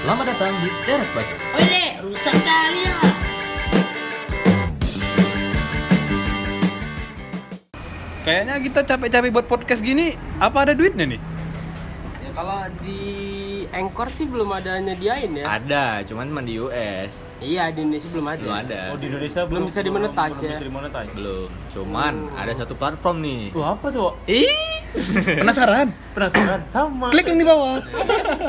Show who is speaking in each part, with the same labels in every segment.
Speaker 1: Selamat datang di Teras Baca.
Speaker 2: Ole, rusak kali ya.
Speaker 3: Kayaknya kita capek-capek buat podcast gini, apa ada duitnya nih?
Speaker 4: Ya, kalau di Anchor sih belum ada nyediain ya.
Speaker 1: Ada, cuman cuma di US.
Speaker 4: Iya, di Indonesia belum ada.
Speaker 1: Belum ada.
Speaker 5: Oh di Indonesia
Speaker 4: Belum
Speaker 5: belum,
Speaker 4: bisa dimonetize ya?
Speaker 5: belum bisa dimonetize.
Speaker 1: Belum. Cuman ada satu platform nih.
Speaker 5: Tuh apa tuh?
Speaker 1: Oh. Ih.
Speaker 3: Penasaran?
Speaker 5: Penasaran? Sama.
Speaker 3: Klik link di bawah.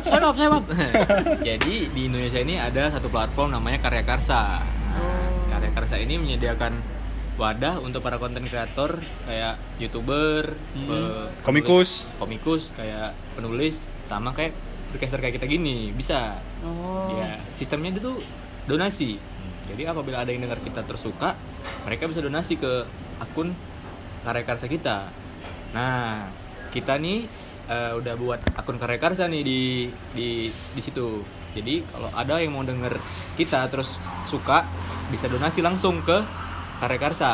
Speaker 1: Shut up, shut up. Jadi di Indonesia ini ada satu platform namanya Karya Karsa. Nah, Karya Karsa ini menyediakan wadah untuk para konten kreator kayak youtuber, pe- penulis-
Speaker 3: Komikus.
Speaker 1: komikus kayak penulis sama kayak podcaster kayak kita gini bisa.
Speaker 2: Oh.
Speaker 1: Ya sistemnya itu tuh donasi. Jadi apabila ada yang dengar kita tersuka, mereka bisa donasi ke akun Karya Karsa kita. Nah, kita nih eh, udah buat akun Karya Karsa nih di di di situ. Jadi kalau ada yang mau denger kita terus suka, bisa donasi langsung ke Karya Karsa.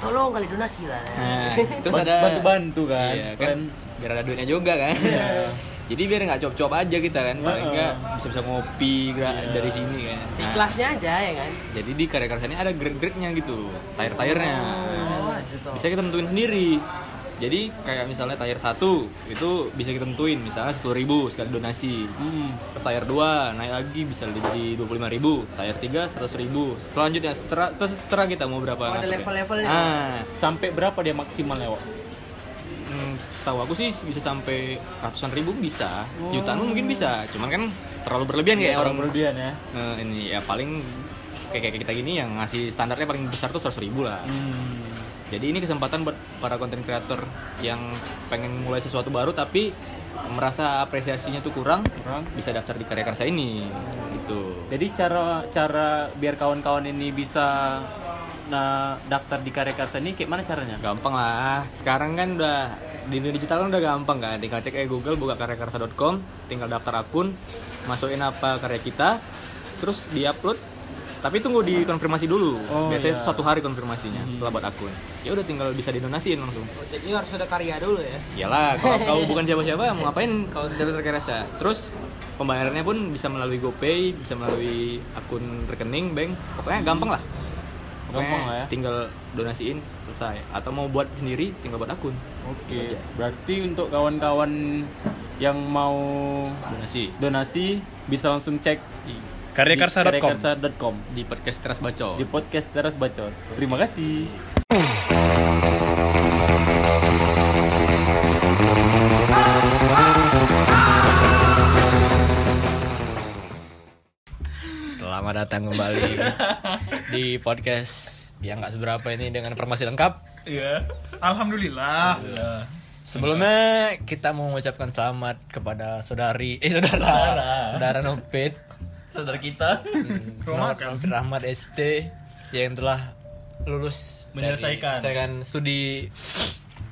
Speaker 2: Tolong kali donasi lah.
Speaker 1: Nah, terus
Speaker 5: Ban-
Speaker 1: ada
Speaker 5: bantu-bantu kan.
Speaker 1: Iya, kan
Speaker 5: Keren.
Speaker 1: biar ada duitnya juga kan. Jadi biar nggak cop-cop aja kita kan, paling nggak bisa bisa ngopi gra- dari sini kan.
Speaker 4: Si
Speaker 1: Nah,
Speaker 4: kelasnya aja ya kan.
Speaker 1: jadi di karya karya ini ada grade-grade-nya gitu, tire-tirenya.
Speaker 4: Oh,
Speaker 1: Bisa kita tentuin sendiri. Jadi kayak misalnya tire 1 itu bisa kita tentuin misalnya 10.000 ribu sekali donasi.
Speaker 5: Hmm.
Speaker 1: Terus tire 2 naik lagi bisa jadi 25.000 ribu, tire 3 100.000 ribu. Selanjutnya setera, terus setera kita mau berapa?
Speaker 4: Oh, ada
Speaker 1: ngaturnya.
Speaker 4: level-levelnya.
Speaker 1: Ah,
Speaker 5: Sampai berapa dia maksimalnya, Wak?
Speaker 1: hmm, setahu aku sih bisa sampai ratusan ribu bisa, jutaan pun mungkin bisa. Cuman kan terlalu berlebihan kayak orang
Speaker 5: Oh. berlebihan ya.
Speaker 1: Eh, ini ya paling kayak kayak kita gini yang ngasih standarnya paling besar tuh 100.000 ribu lah.
Speaker 5: Hmm.
Speaker 1: Jadi ini kesempatan buat para konten kreator yang pengen mulai sesuatu baru tapi merasa apresiasinya tuh kurang,
Speaker 5: Kurang.
Speaker 1: bisa daftar di karya karsa ini. Gitu.
Speaker 5: Jadi cara cara biar kawan-kawan ini bisa nah daftar di karya karsa ini kayak mana caranya?
Speaker 1: Gampang lah. Sekarang kan udah di dunia digital kan udah gampang kan. Tinggal cek eh Google buka karyakarsa.com, tinggal daftar akun, masukin apa karya kita, terus diupload. Tapi tunggu dikonfirmasi dulu.
Speaker 5: Oh,
Speaker 1: Biasanya
Speaker 5: iya. Hmm.
Speaker 1: satu hari konfirmasinya setelah buat akun. Ya udah tinggal bisa didonasiin langsung.
Speaker 6: Oh,
Speaker 4: Jadi harus ada karya dulu ya.
Speaker 1: Iyalah, kalau kau bukan siapa-siapa mau ngapain kalau tidak terkerasa. Terus pembayarannya pun bisa melalui GoPay, bisa melalui akun rekening bank. Pokoknya gampang lah. Pokoknya
Speaker 5: Gampang lah ya.
Speaker 1: Tinggal donasiin selesai. Atau mau buat sendiri tinggal buat akun.
Speaker 5: Oke. Berarti untuk kawan-kawan yang mau
Speaker 1: Donasi
Speaker 5: donasi bisa langsung cek di
Speaker 3: Karyakarsa.com.
Speaker 5: karyakarsa.com
Speaker 1: di podcast Teras Bacol.
Speaker 5: di podcast Teras Bacot. Terima kasih.
Speaker 1: Selamat datang kembali di podcast yang nggak seberapa ini dengan informasi lengkap.
Speaker 3: Iya. Alhamdulillah.
Speaker 1: Sebelumnya kita mau mengucapkan selamat kepada saudari eh saudara saudara Nopit
Speaker 5: Saudara kita
Speaker 1: Hmm, selamat Alfir Rahmat ST yang telah luz dari,
Speaker 5: Menyelesaikan.
Speaker 1: menyelesaikan studi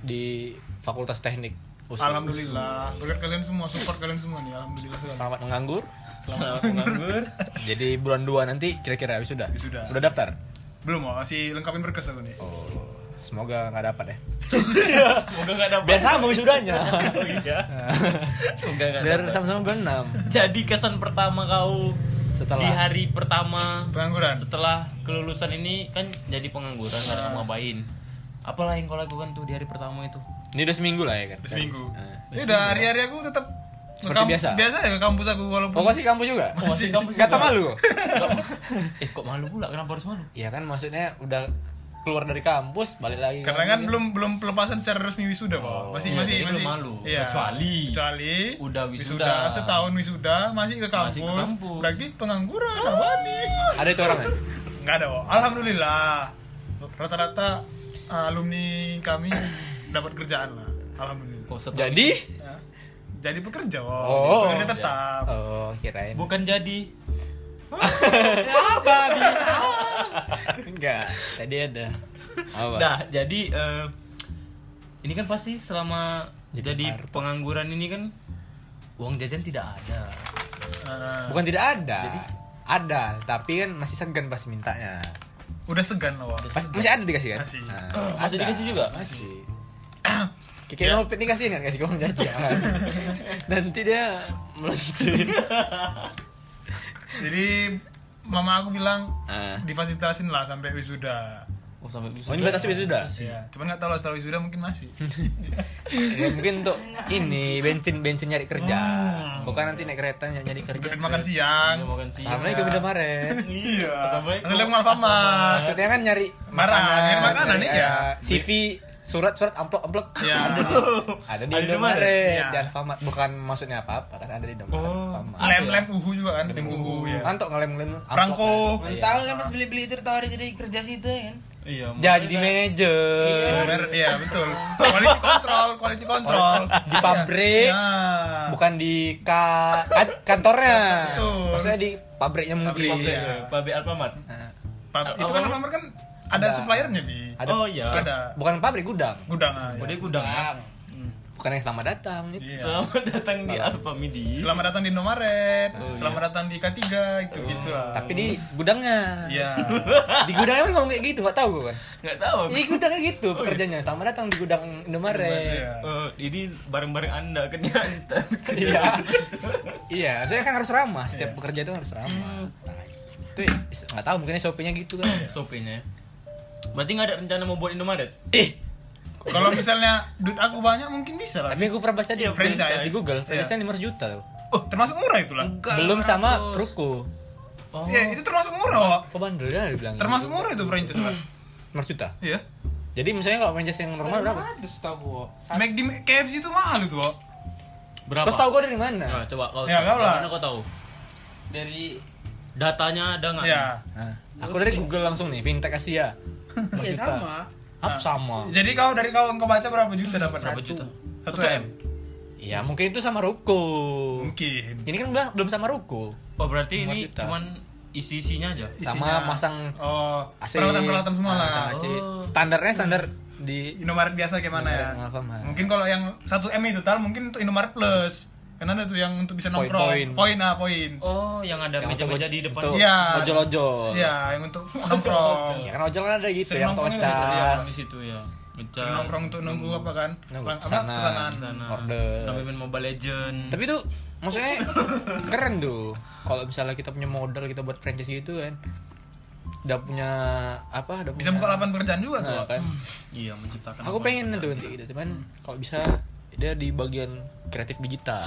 Speaker 1: di Fakultas Teknik. Usul.
Speaker 7: Alhamdulillah, berkat kalian semua, support kalian semua nih, alhamdulillah sekali.
Speaker 1: Selamat menganggur.
Speaker 5: selamat menganggur.
Speaker 1: Jadi bulan 2 nanti kira-kira habis sudah.
Speaker 7: Sudah.
Speaker 1: Udah daftar?
Speaker 7: Belum mau, masih lengkapin berkas aku nih.
Speaker 1: Oh, semoga nggak dapat ya.
Speaker 5: Semoga gak ada
Speaker 1: Biar sama wisudanya.
Speaker 5: iya. Semoga nggak
Speaker 1: Biar
Speaker 5: dapat.
Speaker 1: sama-sama berenam.
Speaker 5: Jadi kesan pertama kau di
Speaker 1: Setelah
Speaker 5: hari pertama
Speaker 7: Pengangguran.
Speaker 5: setelah kelulusan ini kan jadi pengangguran karena mau ngapain. Apalah yang kau lakukan tuh di hari pertama itu?
Speaker 1: ini udah seminggu lah ya kan.
Speaker 7: Udah Seminggu.
Speaker 1: Eh.
Speaker 7: Ini udah hari-hari aku tetap
Speaker 1: Seperti biasa?
Speaker 7: Biasa ya ke kampus aku walaupun
Speaker 1: Oh, kau sih kampus juga?
Speaker 5: Masih kamu
Speaker 1: Kata malu.
Speaker 5: Eh kok malu pula? Kenapa harus malu?
Speaker 1: Iya kan maksudnya udah keluar dari kampus balik lagi. ke
Speaker 7: karena kan
Speaker 1: kampus.
Speaker 7: belum belum pelepasan secara resmi wisuda kok. Masih
Speaker 5: iya,
Speaker 7: masih
Speaker 5: jadi
Speaker 7: masih
Speaker 5: belum malu. Kecuali.
Speaker 7: kecuali
Speaker 5: Udah wisuda.
Speaker 7: setahun wisuda masih ke kampus.
Speaker 5: Masih ke kampus.
Speaker 7: Berarti pengangguran apa nih?
Speaker 1: ada itu orang kan?
Speaker 7: Enggak ada, Wak. alhamdulillah. Rata-rata eh, alumni kami dapat kerjaan lah. Alhamdulillah.
Speaker 5: Kok setelah
Speaker 1: Jadi
Speaker 7: Ya. Jadi pekerja, Wak.
Speaker 1: Oh.
Speaker 7: Pekerja tetap.
Speaker 1: Oh, kirain.
Speaker 5: bukan jadi
Speaker 1: Enggak, tadi ada. Apa?
Speaker 5: Nah, jadi eh, ini kan pasti selama
Speaker 1: Jadi
Speaker 5: jadi
Speaker 1: harta.
Speaker 5: pengangguran ini kan uang jajan tidak ada.
Speaker 7: Eh,
Speaker 1: Bukan tidak ada. Ada, tapi kan masih segan pasti mintanya.
Speaker 7: udah segan loh Wak.
Speaker 1: Pas, masih ada dikasih kan?
Speaker 7: Masih.
Speaker 1: Nah,
Speaker 5: Masih
Speaker 1: ada.
Speaker 5: dikasih juga? Ya.
Speaker 1: Masih. Kiki Nopit nih kasihin kan kasih uang jajan. Nanti dia melontir.
Speaker 7: Jadi mama aku bilang
Speaker 1: Ah.
Speaker 7: difasilitasin lah sampai wisuda.
Speaker 8: Oh sampai
Speaker 1: Oh ini batasnya sudah.
Speaker 7: Iya, cuman nggak tahu lah setelah wisuda mungkin masih.
Speaker 1: Hmm, Ya, mungkin untuk ini bensin bensin nyari kerja.
Speaker 5: Hmm.
Speaker 1: Bukan nanti naik kereta ny- nyari kerja.
Speaker 7: Duit makan siang.
Speaker 1: Iya,
Speaker 8: makan
Speaker 5: Iya.
Speaker 8: siang.
Speaker 1: Sama ke Bunda Mare.
Speaker 7: Iya.
Speaker 8: Assalamualaikum.
Speaker 7: Assalamualaikum Alfamart.
Speaker 1: Maksudnya kan nyari
Speaker 7: Marah, nyari makanan,
Speaker 1: nyari,
Speaker 7: iya.
Speaker 1: eh, CV, surat, surat, amplop, amplop.
Speaker 7: Iya.
Speaker 1: Ada di
Speaker 8: Ada di
Speaker 1: Indomaret,
Speaker 7: Iya. Oh,
Speaker 1: di Alfamart. Bukan maksudnya apa-apa, kan ada di Indomaret. Alfamart.
Speaker 7: Lem-lem uhu juga kan, lem uhu ya.
Speaker 1: Antok ngelem-ngelem. amplop. kan.
Speaker 7: Rangko.
Speaker 6: Tahu kan pas beli-beli itu ditawarin jadi kerja situ ya kan?
Speaker 8: Iya.
Speaker 1: Ya, jadi manajer.
Speaker 7: Bener, Iya betul. Quality control, quality control.
Speaker 1: Oh, Di pabrik.
Speaker 7: Nah.
Speaker 1: Bukan di ka- kan- kantornya.
Speaker 7: Betul.
Speaker 1: Maksudnya di pabriknya mungkin.
Speaker 7: Pabrik, iya.
Speaker 8: Pabrik Alfamart.
Speaker 1: Nah,
Speaker 7: Pab- itu kan Alfamart kan ada
Speaker 1: Ada.
Speaker 7: suppliernya bi.
Speaker 1: Ada,
Speaker 8: Oh iya.
Speaker 1: kayak-
Speaker 7: Ada.
Speaker 1: Bukan pabrik, gudang.
Speaker 7: Gudang aja.
Speaker 8: Oh dia gudang. kan?
Speaker 1: Bukan yang selamat datang. gitu.
Speaker 7: Iya.
Speaker 8: Selamat datang di Alfamidi.
Speaker 7: Selamat datang di Indomaret, selamat datang di K3 gitu gitu
Speaker 1: Oh,
Speaker 7: lah.
Speaker 1: iya. Tapi di gudangnya.
Speaker 7: Iya.
Speaker 1: Di gudangnya emang ngomong kayak gitu, gak tau gue kan.
Speaker 8: Enggak tahu.
Speaker 1: Iya gudangnya gitu pekerjaannya. Selamat datang di gudang Indomaret.
Speaker 7: Iya.
Speaker 8: Eh, ini bareng-bareng Anda kan ke Nyantan.
Speaker 1: Iya. Iya, saya kan harus ramah.
Speaker 7: Iya.
Speaker 1: Setiap pekerja itu harus ramah. Nah, itu is- is- nggak tahu mungkin SOP-nya gitu kan.
Speaker 7: Iya.
Speaker 8: SOP-nya. Berarti nggak ada rencana mau buat Indomaret?
Speaker 1: Ih,
Speaker 7: Kalau misalnya duit aku banyak mungkin bisa lah.
Speaker 1: tapi aku pernah baca tadi
Speaker 7: Iya,
Speaker 1: di
Speaker 7: franchise.
Speaker 1: Google,
Speaker 7: Iya.
Speaker 1: franchise-nya 500 juta loh.
Speaker 7: Oh, termasuk murah itulah.
Speaker 1: Belum sama Ruko.
Speaker 8: Oh.
Speaker 7: Iya, itu termasuk murah, Wak.
Speaker 1: Kok bandel ya dibilang.
Speaker 7: Termasuk murah itu franchise lah.
Speaker 1: 500 juta.
Speaker 7: Iya.
Speaker 1: Jadi misalnya kalau franchise yang normal berapa?
Speaker 6: Ada setahu gua.
Speaker 7: McD KFC itu mahal itu, Wak.
Speaker 8: Berapa?
Speaker 1: Terus tahu gua dari mana?
Speaker 8: Nah, coba kau.
Speaker 7: Ya, kau lah.
Speaker 8: Mana kau tahu?
Speaker 6: Dari
Speaker 8: Datanya ada nggak?
Speaker 7: Iya.
Speaker 1: Nah, aku dari Google langsung nih, fintech Asia. 500
Speaker 6: ya
Speaker 1: juta.
Speaker 6: sama.
Speaker 7: Nah.
Speaker 1: Apa sama?
Speaker 7: Jadi kau dari kau engkau baca berapa juta
Speaker 1: Hmm.
Speaker 7: dapat?
Speaker 8: Berapa juta?
Speaker 7: 1 M.
Speaker 1: Ya mungkin itu sama Ruko.
Speaker 7: Mungkin.
Speaker 1: Ini kan belum- belum sama Ruko.
Speaker 8: Oh, berarti
Speaker 1: 5
Speaker 8: ini
Speaker 1: juta.
Speaker 8: cuman isi-isinya aja.
Speaker 1: Sama masang
Speaker 7: oh,
Speaker 1: AC
Speaker 7: peralatan-peralatan semua
Speaker 1: Ah,
Speaker 7: lah. Oh.
Speaker 1: sama AC. standarnya standar di
Speaker 7: Indomaret biasa kayak mana ya?
Speaker 1: Indomaret Iya, sama Alfamart.
Speaker 7: Mungkin kalau yang 1M itu tal mungkin untuk Indomaret Plus. Karena ada tuh yang untuk bisa
Speaker 1: Poin,
Speaker 7: nongkrong.
Speaker 1: poin.
Speaker 7: Poin ah, poin.
Speaker 8: Oh, yang ada
Speaker 1: Yang untuk-
Speaker 8: meja-meja di depan.
Speaker 1: untuk
Speaker 7: Iya.
Speaker 1: ojol-ojol
Speaker 7: Iya, yang untuk nongkrong.
Speaker 1: ya kan ojol kan ada gitu
Speaker 7: Sering
Speaker 1: yang
Speaker 7: nongkrongnya
Speaker 8: Iya,
Speaker 1: tocas
Speaker 8: di situ ya. Meja.
Speaker 7: Sering nongkrong untuk nunggu apa kan?
Speaker 1: Hmm. Nunggu
Speaker 7: Pulang- apa?
Speaker 1: pesanan.
Speaker 7: Pesanan.
Speaker 8: sana.
Speaker 1: Order.
Speaker 8: Sampai main Mobile Legend.
Speaker 1: tapi tuh maksudnya keren tuh kalau misalnya kita punya modal kita buat franchise gitu kan udah punya apa udah punya-
Speaker 7: Bisa buka Hmm. lapangan pekerjaan juga tuh.
Speaker 1: Nah, kan
Speaker 8: Iya, menciptakan.
Speaker 1: aku
Speaker 8: apa-
Speaker 1: pengen tuh nanti gitu cuman kalau bisa dia di bagian kreatif digital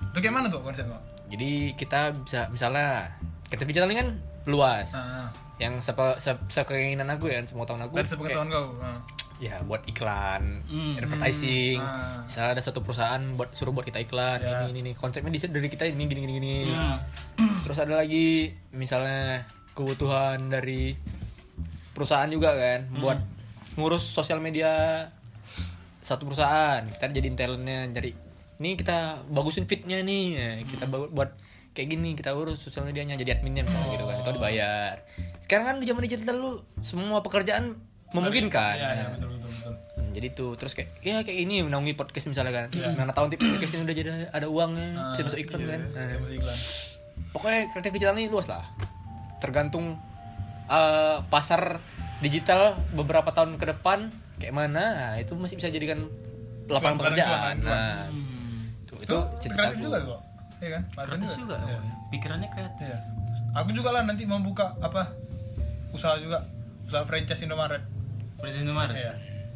Speaker 7: Itu kayak mana tuh konsepnya?
Speaker 1: jadi kita bisa misalnya kreatif digital ini kan luas
Speaker 7: Heeh.
Speaker 1: yang sepe, se, sekeinginan aku ya semua tahun aku
Speaker 7: Dari
Speaker 1: kayak-
Speaker 7: sepengetahuan kau. ah.
Speaker 1: ya buat iklan,
Speaker 8: Hmm.
Speaker 1: advertising.
Speaker 7: Hmm.
Speaker 1: Misalnya ada satu perusahaan buat suruh buat kita iklan,
Speaker 7: Ya.
Speaker 1: ini ini ini. Konsepnya di dari kita ini gini gini gini. Terus ada lagi misalnya kebutuhan dari perusahaan juga kan
Speaker 7: Hmm.
Speaker 1: buat ngurus sosial media satu perusahaan. Kita jadiin talentnya cari ini kita bagusin fitnya nih. Ya, Kita
Speaker 7: Hmm.
Speaker 1: bagu- buat kayak gini kita urus sosial medianya jadi adminnya misalnya gitu kan.
Speaker 7: Oh.
Speaker 1: Itu dibayar. Sekarang kan di zaman digital lu semua pekerjaan memungkinkan.
Speaker 7: Iya, iya,
Speaker 1: Nah,
Speaker 7: betul betul betul.
Speaker 1: Hmm, jadi tuh terus kayak ya kayak ini menaungi podcast misalnya kan
Speaker 7: Iya.
Speaker 1: mana tahun tip podcast ini udah jadi ada uangnya
Speaker 7: Ah,
Speaker 1: bisa masuk iklan kan Nah,
Speaker 7: Masuk iklan.
Speaker 1: pokoknya kreatif digital ini luas lah tergantung eh, pasar digital beberapa tahun ke depan kayak mana nah, itu masih bisa jadikan lapangan
Speaker 7: Pelan-pelan,
Speaker 1: pekerjaan
Speaker 7: pelan-pelan.
Speaker 1: nah itu itu
Speaker 7: Itu
Speaker 1: cita-cita
Speaker 7: hmm. kreatif
Speaker 1: aku.
Speaker 7: juga kok. Iya kan?
Speaker 8: Kreatif juga.
Speaker 7: Iya.
Speaker 8: Pikirannya kreatif.
Speaker 7: Iya. Aku juga lah nanti mau buka apa usaha juga usaha franchise Indomaret.
Speaker 8: Presiden Indomaret.
Speaker 7: Iya.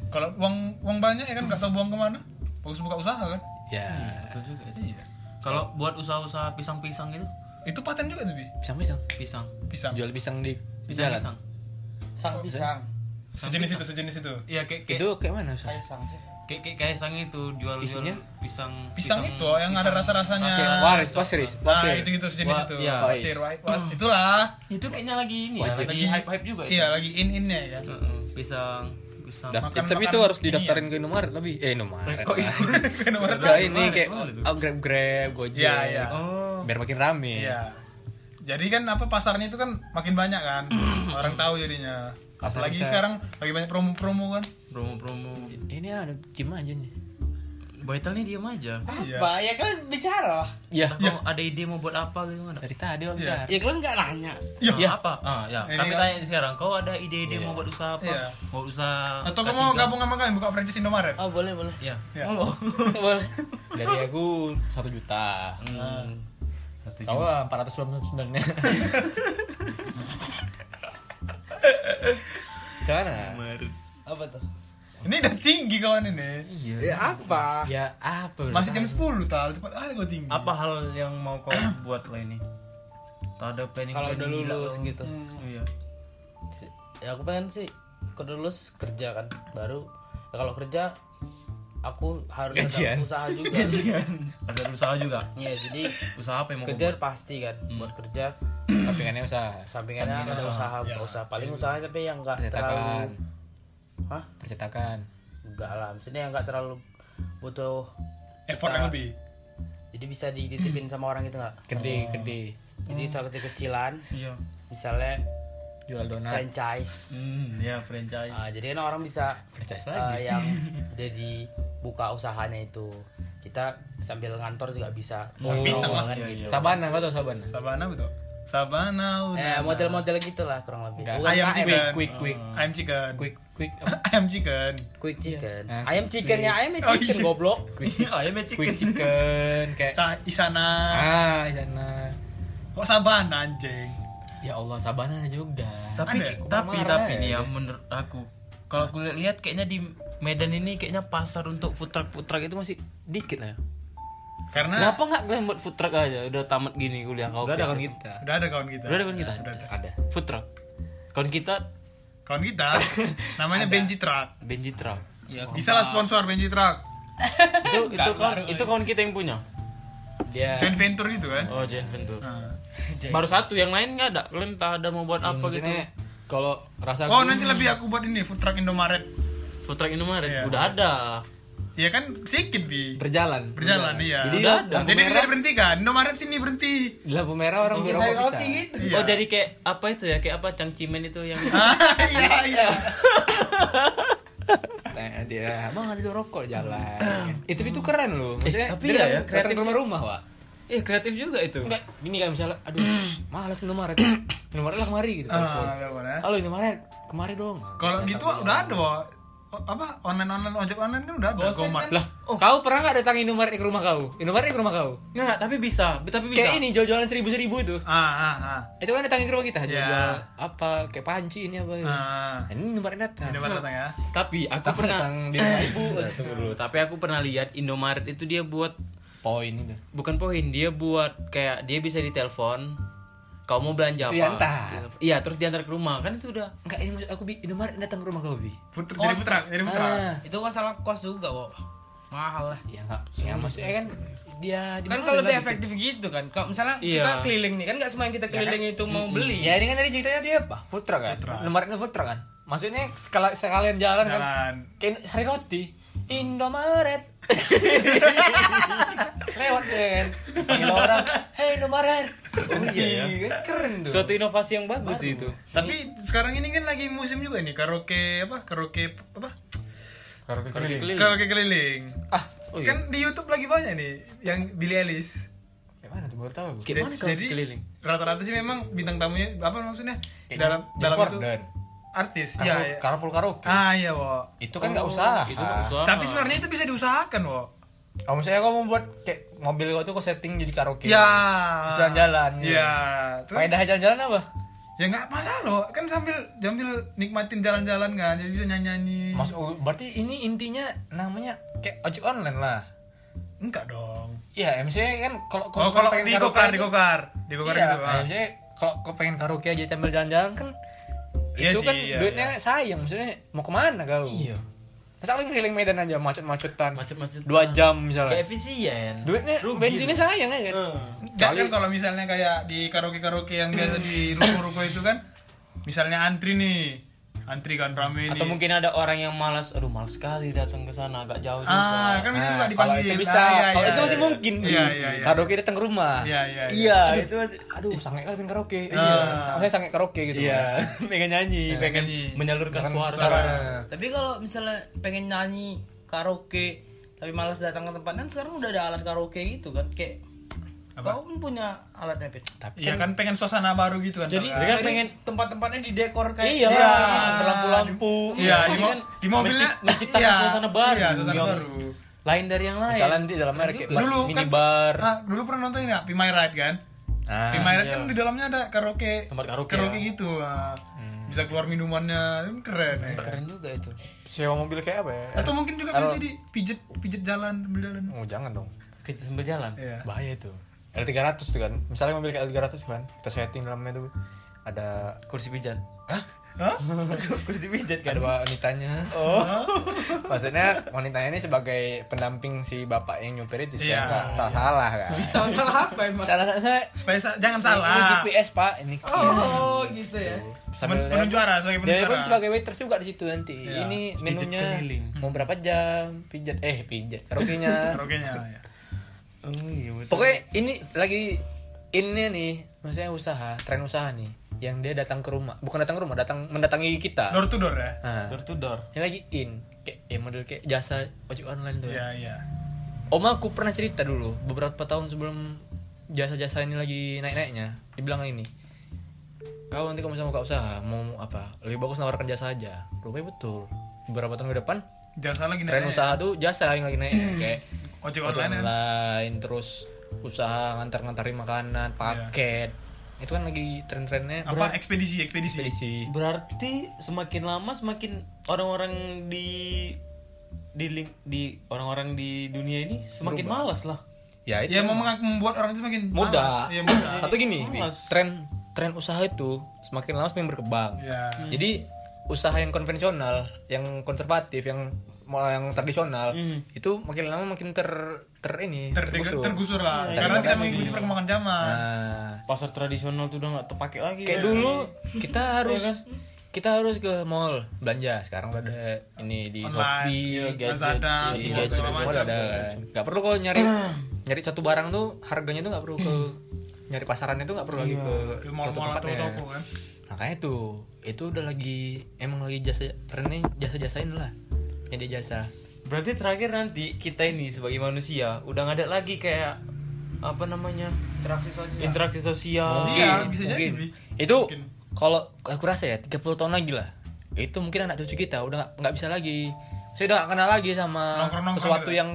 Speaker 7: Kalau uang uang banyak ya kan nggak tahu buang kemana. Bagus buka usaha kan.
Speaker 1: ya
Speaker 8: Betul juga itu. Kalau
Speaker 1: Iya.
Speaker 8: buat usaha-usaha pisang-pisang gitu,
Speaker 7: Itu paten juga tuh bi
Speaker 1: pisang pisang
Speaker 8: pisang,
Speaker 7: Hmm. pisang.
Speaker 1: jual pisang di jalan
Speaker 8: pisang-pisang.
Speaker 6: Sang pisang.
Speaker 7: Sejenis itu sejenis itu.
Speaker 8: Iya, kayak kayak
Speaker 1: itu kayak mana Sal?
Speaker 6: Kaisang sih.
Speaker 8: kayak, kayak kaisang itu jual-jual
Speaker 1: Isinya?
Speaker 8: pisang,
Speaker 7: Pisang itu oh, yang ada rasa-rasanya.
Speaker 1: kayak waris pasiris
Speaker 7: Nah,
Speaker 1: pasir
Speaker 7: itu gitu sejenis
Speaker 8: Wah,
Speaker 7: itu.
Speaker 8: iya.
Speaker 7: Pasir, wah, wah, itulah.
Speaker 8: Ah, Itu kayaknya lagi ini ya,
Speaker 1: Wajib.
Speaker 8: lagi hype-hype juga itu.
Speaker 7: Iya, lagi in-innya ya. kan.
Speaker 8: Heeh, pisang, pisang.
Speaker 1: Daf-
Speaker 7: Makan-
Speaker 1: tapi itu
Speaker 7: makan
Speaker 1: harus
Speaker 7: ini ya.
Speaker 1: didaftarin ke Indomaret lebih eh Indomaret
Speaker 8: Kok
Speaker 1: lah.
Speaker 8: itu?
Speaker 1: Enggak
Speaker 7: Indomaret tuh
Speaker 1: ini
Speaker 8: Indomaret,
Speaker 1: kayak
Speaker 8: Indomaret tuh.
Speaker 1: oh, grab grab gojek
Speaker 7: Iya, iya.
Speaker 8: Oh.
Speaker 1: biar makin rame
Speaker 7: Iya. Jadi kan apa pasarnya itu kan makin banyak kan. Orang tahu jadinya.
Speaker 1: Pasar
Speaker 7: Apalagi
Speaker 1: bisa.
Speaker 7: sekarang lagi banyak promo-promo kan.
Speaker 8: Promo-promo.
Speaker 1: ini ada gym aja nih
Speaker 8: Baitel nih diam aja.
Speaker 7: Iya.
Speaker 6: Apa? Ya kan bicara lah.
Speaker 1: ya
Speaker 8: Kau ada ide mau buat apa gitu nggak ada?
Speaker 1: dari tadi om Jar.
Speaker 6: Ya kalian nggak nanya.
Speaker 8: Ya.
Speaker 1: Ya.
Speaker 8: apa? Ah, ya.
Speaker 7: Iya. Ini
Speaker 8: Kami
Speaker 7: kan-
Speaker 8: tanya sekarang, kau ada ide-ide
Speaker 1: Iya.
Speaker 8: mau buat usaha apa?
Speaker 7: Iya.
Speaker 8: Mau usaha
Speaker 7: Atau kamu mau
Speaker 8: ketiga?
Speaker 7: gabung sama kami buka franchise Indomaret?
Speaker 6: Oh boleh boleh.
Speaker 8: Iya.
Speaker 7: Iya.
Speaker 8: Mau.
Speaker 6: boleh.
Speaker 1: dari aku satu juta
Speaker 8: Hmm. Satu
Speaker 1: Tahu lah 499-nya. Gimana?
Speaker 6: Apa tuh?
Speaker 7: Ini udah tinggi kawan ini.
Speaker 6: Ya apa?
Speaker 1: Ya apa?
Speaker 7: Masih jam 10 tal, cepat kali kau tinggi.
Speaker 8: Apa hal yang mau kau buat lah ini? Tak ada planning
Speaker 6: Kalau udah
Speaker 8: planning gila
Speaker 6: lulus
Speaker 8: kau.
Speaker 6: gitu.
Speaker 8: Hmm, Iya.
Speaker 6: Si- Ya aku pengen sih kalau udah lulus kerja kan baru ya kalau kerja aku harus
Speaker 1: Gajian.
Speaker 6: ada usaha juga.
Speaker 8: Ada usaha juga.
Speaker 6: Iya, jadi
Speaker 8: Usaha apa yang mau kau
Speaker 6: kerja
Speaker 8: buat?
Speaker 6: pasti kan buat kerja
Speaker 1: Hmm. Sampingannya usaha. Ya.
Speaker 6: sampingannya ada usaha nggak usah paling usaha tapi yang nggak
Speaker 1: Percetakan.
Speaker 6: terlalu Hah?
Speaker 1: Percetakan.
Speaker 6: enggak lah maksudnya yang nggak terlalu butuh
Speaker 7: Effort yang lebih.
Speaker 6: jadi bisa dititipin sama orang gitu nggak
Speaker 1: Gede, gede. Hmm.
Speaker 6: jadi usaha kecil-kecilan
Speaker 8: Iya.
Speaker 6: misalnya
Speaker 1: Jual donat.
Speaker 6: franchise
Speaker 8: Hmm, ya franchise.
Speaker 6: Ah, jadi kan orang bisa
Speaker 1: Franchise
Speaker 6: eh,
Speaker 1: lagi.
Speaker 6: yang jadi buka usahanya itu kita sambil ngantor juga bisa
Speaker 1: Oh,
Speaker 7: Sambil
Speaker 6: Bisa
Speaker 7: sama.
Speaker 6: kan
Speaker 8: Iya,
Speaker 6: gitu.
Speaker 8: iya.
Speaker 1: Sabana, kau tau Sabana?
Speaker 7: Sabana betul. Sabana
Speaker 8: Oh,
Speaker 6: eh
Speaker 8: nah,
Speaker 7: udah.
Speaker 6: model-model gitulah kurang lebih
Speaker 1: Enggak.
Speaker 6: Bukan
Speaker 7: Ayam
Speaker 6: KM.
Speaker 7: chicken. Oh.
Speaker 1: Quick, quick,
Speaker 7: Ayam chicken.
Speaker 1: quick, quick, apa?
Speaker 7: Ayam chicken.
Speaker 6: quick chicken
Speaker 1: Iya.
Speaker 8: Nah,
Speaker 6: kan? ayam chickennya ayam
Speaker 7: Oh,
Speaker 6: chicken
Speaker 7: iya.
Speaker 6: goblok
Speaker 1: quick,
Speaker 8: Iya, ayam ya
Speaker 1: quick
Speaker 8: chicken.
Speaker 1: chicken, kayak
Speaker 7: Sa Isana.
Speaker 1: ah, di sana.
Speaker 7: Kok Sabana anjing?
Speaker 1: Ya Allah, Sabana juga.
Speaker 8: Tapi
Speaker 7: Ada.
Speaker 8: tapi
Speaker 1: Marah,
Speaker 8: tapi
Speaker 1: ya.
Speaker 8: nih ya menurut aku kalau aku lihat kayaknya di Medan ini kayaknya pasar untuk food truck food truck itu masih dikit lah. ya.
Speaker 7: Karena
Speaker 8: Kenapa nggak kalian buat food truck aja? Udah tamat gini kuliah kau.
Speaker 1: Udah ada
Speaker 8: kayak
Speaker 1: kan
Speaker 8: gitu.
Speaker 1: kita.
Speaker 7: Nah. udah ada kawan kita.
Speaker 8: Udah ada kan kita?
Speaker 7: Udah ada.
Speaker 1: Ada.
Speaker 8: Food truck. Kawan kita
Speaker 7: Kawan kita namanya Benji Truck.
Speaker 8: Benji Truck.
Speaker 1: Iya,
Speaker 7: Bisa lah sponsor Benji Truck.
Speaker 8: itu itu kawan itu kawan kita yang punya.
Speaker 1: Dia
Speaker 7: Joint venture gitu kan.
Speaker 8: Oh, Jen Ventur.
Speaker 7: Nah.
Speaker 8: Baru satu yang lain nggak ada. Kalian tak ada mau buat apa gitu.
Speaker 1: maksudnya kalau rasa
Speaker 7: Oh
Speaker 1: gue-
Speaker 7: nanti lebih aku buat ini food truck Indomaret.
Speaker 8: Food truck Indomaret
Speaker 7: Iya.
Speaker 8: udah ada.
Speaker 7: Ya kan sedikit bi.
Speaker 1: berjalan.
Speaker 7: Berjalan iya.
Speaker 1: Jadi
Speaker 8: Udah
Speaker 1: lampu
Speaker 7: Jadi bisa
Speaker 1: merah,
Speaker 7: diberhentikan. Indomaret sini berhenti.
Speaker 1: di lampu merah orang berokok bisa.
Speaker 7: Iya.
Speaker 8: Oh, jadi kayak apa itu ya? Kayak apa cangcimen itu yang
Speaker 7: Ah, iya iya.
Speaker 1: Tanya dia, "Bang, ada rokok jalan." itu itu keren loh. Maksudnya dia
Speaker 8: tapi iya
Speaker 1: datang-
Speaker 8: ya,
Speaker 1: datang
Speaker 8: kreatif
Speaker 1: ke rumah-rumah, Pak.
Speaker 8: Eh, kreatif juga itu.
Speaker 1: Enggak, gini kan misalnya, aduh, malas ke Indomaret. Indomaret lah kemari gitu telepon.
Speaker 7: Ah, ada apa, ya?
Speaker 1: Halo Indomaret, kemari dong.
Speaker 7: Kalau gitu udah ada Wak. O- apa online online ojek online kan udah ada Gomart.
Speaker 1: Lah, kau pernah nggak datang Indomaret ke rumah kau? Indomaret ke rumah kau?
Speaker 8: Nggak, nggak, tapi bisa. Tapi bisa.
Speaker 1: Kayak ini jual-jualan seribu-seribu itu.
Speaker 7: Ah ah ah.
Speaker 1: Itu kan datangin ke rumah kita jual
Speaker 7: Ya.
Speaker 1: apa kayak panci ini apa. Ini,
Speaker 7: Ah.
Speaker 1: ini Indomaret datang.
Speaker 7: Indomaret datang ya.
Speaker 8: Tapi aku
Speaker 1: Aku
Speaker 8: pernah
Speaker 1: datang di rumah ibu.
Speaker 8: Tunggu dulu. Tapi aku pernah lihat Indomaret itu dia buat
Speaker 1: Poin itu.
Speaker 8: bukan poin, dia buat kayak dia bisa ditelepon. Kau mau belanja apa?
Speaker 1: Itu diantar.
Speaker 8: Iya, terus diantar ke rumah. Kan itu udah
Speaker 1: Enggak, ini maksud aku Bi, Indomaret datang ke rumah kau, Bi.
Speaker 7: Food truck jadi food truck, jadi food truck.
Speaker 1: Ah.
Speaker 6: itu masalah kos juga kok mahal lah
Speaker 1: Ya enggak, ya maksudnya kan dia
Speaker 8: ya,
Speaker 1: di
Speaker 6: kan
Speaker 1: mana
Speaker 6: kalau
Speaker 1: lah
Speaker 6: lebih
Speaker 1: gitu.
Speaker 6: efektif gitu kan kalau misalnya
Speaker 8: Iya.
Speaker 6: kita keliling nih kan nggak semua yang kita keliling itu mau beli
Speaker 1: Ya ini kan tadi ceritanya dia apa? Food truck kan? Indomaret itu food truck kan? Maksudnya sekala, sekalian jalan, kan?
Speaker 7: Jalan.
Speaker 1: Kayak sari roti. Indomaret. Lewat dia kan. Panggil orang, "Hei Indomaret." Oh, iya, ya. kan keren tuh.
Speaker 8: suatu inovasi yang bagus sih itu.
Speaker 7: Tapi sekarang ini kan lagi musim juga nih karaoke apa? Karaoke apa?
Speaker 8: Keliling.
Speaker 7: Karaoke keliling.
Speaker 1: Ah,
Speaker 7: Kan di YouTube lagi banyak nih yang Billie Eilish.
Speaker 1: kayak mana tuh baru tahu.
Speaker 8: Kayak mana kalau keliling?
Speaker 7: rata-rata sih memang bintang tamunya apa maksudnya dalam
Speaker 1: Jim
Speaker 7: dalam itu
Speaker 1: Gordon.
Speaker 7: artis ya,
Speaker 1: Karpul,
Speaker 7: ya.
Speaker 1: karpul karaoke.
Speaker 7: ah iya wo
Speaker 1: Itu kan enggak usah.
Speaker 8: Itu nggak usaha.
Speaker 7: tapi sebenarnya itu bisa diusahakan wo
Speaker 1: Oh, maksudnya kau mau buat kayak mobil kau tuh kau setting jadi karaoke.
Speaker 7: ya
Speaker 1: Jalan-jalan. gitu.
Speaker 7: ya Terus-
Speaker 1: Faedahnya jalan-jalan apa?
Speaker 7: ya nggak masalah wo kan sambil sambil nikmatin jalan-jalan kan jadi bisa nyanyi-nyanyi
Speaker 1: Mas, oh, berarti ini intinya namanya kayak ojek online lah.
Speaker 7: enggak dong
Speaker 1: Iya, MC kan kalau
Speaker 7: oh kalau di gokar di
Speaker 1: itu-
Speaker 7: gokar di gokar
Speaker 1: Iya,
Speaker 7: gitu, ah.
Speaker 1: MC kalau kau pengen karaoke aja sambil jalan-jalan kan
Speaker 7: Iya
Speaker 1: itu
Speaker 7: sih,
Speaker 1: kan
Speaker 7: iya,
Speaker 1: duitnya sayang maksudnya mau kemana kau? Iya. Masa lu keliling Medan aja macet-macetan.
Speaker 8: Macet-macetan.
Speaker 1: Dua jam
Speaker 8: Nggak
Speaker 1: misalnya.
Speaker 8: efisien.
Speaker 1: Duitnya
Speaker 8: Rugi.
Speaker 1: bensinnya sayang ya kan?
Speaker 7: Nggak, kan kalau misalnya kayak di karaoke-karaoke yang biasa di ruko-ruko itu kan misalnya antri nih antri kan rame nih
Speaker 8: Atau mungkin ada orang yang malas, aduh malas sekali datang ke sana agak jauh juga.
Speaker 7: ah kan misalnya
Speaker 1: kalau
Speaker 7: nggak dipanggil
Speaker 1: itu
Speaker 7: Nah,
Speaker 1: bisa,
Speaker 7: iya,
Speaker 1: kalau
Speaker 7: iya,
Speaker 1: itu masih
Speaker 7: iya.
Speaker 1: mungkin.
Speaker 7: iya iya iya
Speaker 1: Karaoke datang ke rumah.
Speaker 7: Iya, iya, iya.
Speaker 1: Iya, itu masih aduh sange kali pengen karaoke. Iya. Saya sange karaoke gitu.
Speaker 8: Iya, pengen nyanyi, pengen
Speaker 7: nyanyi.
Speaker 8: menyalurkan suara. Iya.
Speaker 6: tapi kalau misalnya pengen nyanyi karaoke tapi malas datang ke tempat kan sekarang udah ada alat karaoke gitu kan kayak kau pun punya alatnya Pit
Speaker 7: Iya kan pengen suasana baru gitu kan.
Speaker 6: jadi
Speaker 7: Pak.
Speaker 8: kan
Speaker 6: dari
Speaker 8: pengen-
Speaker 6: tempat-tempatnya didekor kayak
Speaker 8: Iya,
Speaker 7: Iya.
Speaker 8: lampu-lampu.
Speaker 7: Iya, di,
Speaker 8: Ini
Speaker 7: mo-
Speaker 8: kan
Speaker 7: di mobilnya
Speaker 8: menci- menciptakan
Speaker 7: iya,
Speaker 8: suasana baru.
Speaker 7: Iya, suasana
Speaker 8: yang
Speaker 7: baru.
Speaker 8: Lain dari yang lain.
Speaker 1: Misalnya di dalamnya ada kayak
Speaker 7: Dulu kan
Speaker 1: minibar. iya.
Speaker 7: ah, dulu pernah nonton ini nggak? Pimai Ride kan?
Speaker 5: Ah,
Speaker 7: Lima Iret kan di dalamnya ada karaoke
Speaker 8: Tempat karaoke ya.
Speaker 7: gitu nah,
Speaker 1: Hmm.
Speaker 7: bisa keluar minumannya kan keren ya.
Speaker 5: keren juga itu sewa mobil kayak apa ya
Speaker 7: atau mungkin juga kan jadi pijet pijet jalan sambil jalan
Speaker 5: oh jangan dong
Speaker 8: Kita sambil jalan.
Speaker 7: Iya.
Speaker 5: bahaya itu L300 tuh kan misalnya mobil kayak L300 tuh kan kita setting dalamnya tuh ada
Speaker 8: Kursi pijat.
Speaker 7: Hah?
Speaker 8: Kursi pijat kan.
Speaker 5: ada wanitanya oh maksudnya wanitanya ini sebagai pendamping si bapak yang nyupir itu
Speaker 7: Iya.
Speaker 5: salah salah kan
Speaker 9: Salah-salah apa emang?
Speaker 8: Salah salah saya.
Speaker 7: supaya sa- jangan
Speaker 8: Ini
Speaker 7: salah
Speaker 8: GPS Pak. Ini
Speaker 9: Oh, gitu ya.
Speaker 7: Men- penunjuk arah sebagai penunjuk
Speaker 5: dia pun
Speaker 7: arah.
Speaker 5: sebagai waiters juga di situ nanti
Speaker 7: Iya.
Speaker 5: ini
Speaker 8: Pijat
Speaker 5: menunya
Speaker 8: keliling.
Speaker 5: mau berapa jam pijat eh pijat karaoke-nya
Speaker 7: karaoke-nya ya.
Speaker 8: Oh iya betul.
Speaker 5: Pokoknya ini lagi ini nih, maksudnya usaha, tren usaha nih, yang dia datang ke rumah, bukan datang ke rumah, datang mendatangi kita.
Speaker 7: door to door ya
Speaker 5: Nah,
Speaker 8: Door to door.
Speaker 5: yang lagi in, kayak ya model kayak jasa ojek online tuh.
Speaker 7: iya iya
Speaker 5: Oma aku pernah cerita dulu beberapa tahun sebelum jasa-jasa ini lagi naik-naiknya, dibilang ini. Kau nanti kalau misalnya buka usaha, mau apa? Lebih bagus nawarkan jasa aja. Rupanya betul. Beberapa tahun ke depan,
Speaker 7: jasa lagi
Speaker 5: tren
Speaker 7: naik-naik.
Speaker 5: usaha tuh jasa yang lagi naik
Speaker 7: ya.
Speaker 5: kayak
Speaker 7: ojek
Speaker 5: ojek
Speaker 7: online
Speaker 5: online,
Speaker 7: kan?
Speaker 5: terus usaha ngantar-ngantarin makanan paket itu kan lagi tren-trennya
Speaker 7: Iya. apa ekspedisi ekspedisi
Speaker 5: berisi
Speaker 8: Berarti semakin lama semakin orang-orang di di lim- di orang-orang di dunia ini semakin malas lah.
Speaker 5: ya itu
Speaker 7: ya mau mengaku- membuat orang itu semakin
Speaker 5: mudah
Speaker 7: malas. ya mudah
Speaker 5: atau gini Bi,
Speaker 8: Malas.
Speaker 5: tren tren usaha itu semakin lama semakin berkembang
Speaker 7: ya
Speaker 5: jadi usaha yang konvensional yang konservatif yang yang tradisional itu makin lama makin ter ter ini
Speaker 7: ter-
Speaker 5: tergusur.
Speaker 7: tergusur lah
Speaker 5: Iya,
Speaker 7: karena
Speaker 5: iya.
Speaker 7: tidak mengikuti perkembangan zaman
Speaker 5: Nah,
Speaker 8: Pasar tradisional tuh udah nggak terpakai
Speaker 7: Iya.
Speaker 8: lagi. Iya.
Speaker 5: kayak dulu kita harus kita harus ke mall belanja sekarang udah ada ini di
Speaker 7: online
Speaker 5: Shopee
Speaker 7: iya,
Speaker 8: gadget,
Speaker 7: Lazada semua segala
Speaker 5: di gadget Iya, semua
Speaker 7: macam.
Speaker 5: udah ada nggak perlu kok nyari nyari satu barang tuh harganya tuh nggak perlu ke nyari pasarannya tuh nggak perlu lagi ke,
Speaker 7: Iya, ke
Speaker 5: suatu
Speaker 7: mall-mall atau
Speaker 5: tempatnya
Speaker 7: toko kan
Speaker 5: makanya tuh itu udah lagi emang lagi jasa trennya jasa jasain lah media jasa
Speaker 8: Berarti terakhir nanti kita ini sebagai manusia udah nggak ada lagi kayak apa namanya
Speaker 9: Interaksi sosial.
Speaker 8: interaksi sosial.
Speaker 7: Mungkin. Iya, bisa jadi, Bi.
Speaker 5: itu
Speaker 7: Mungkin.
Speaker 5: kalau aku rasa ya 30 tahun lagi lah itu mungkin anak cucu kita udah nggak- nggak bisa lagi saya udah nggak kenal lagi sama
Speaker 7: Nongkrong-nongkrong
Speaker 5: sesuatu
Speaker 7: gitu. Hmm.
Speaker 5: yang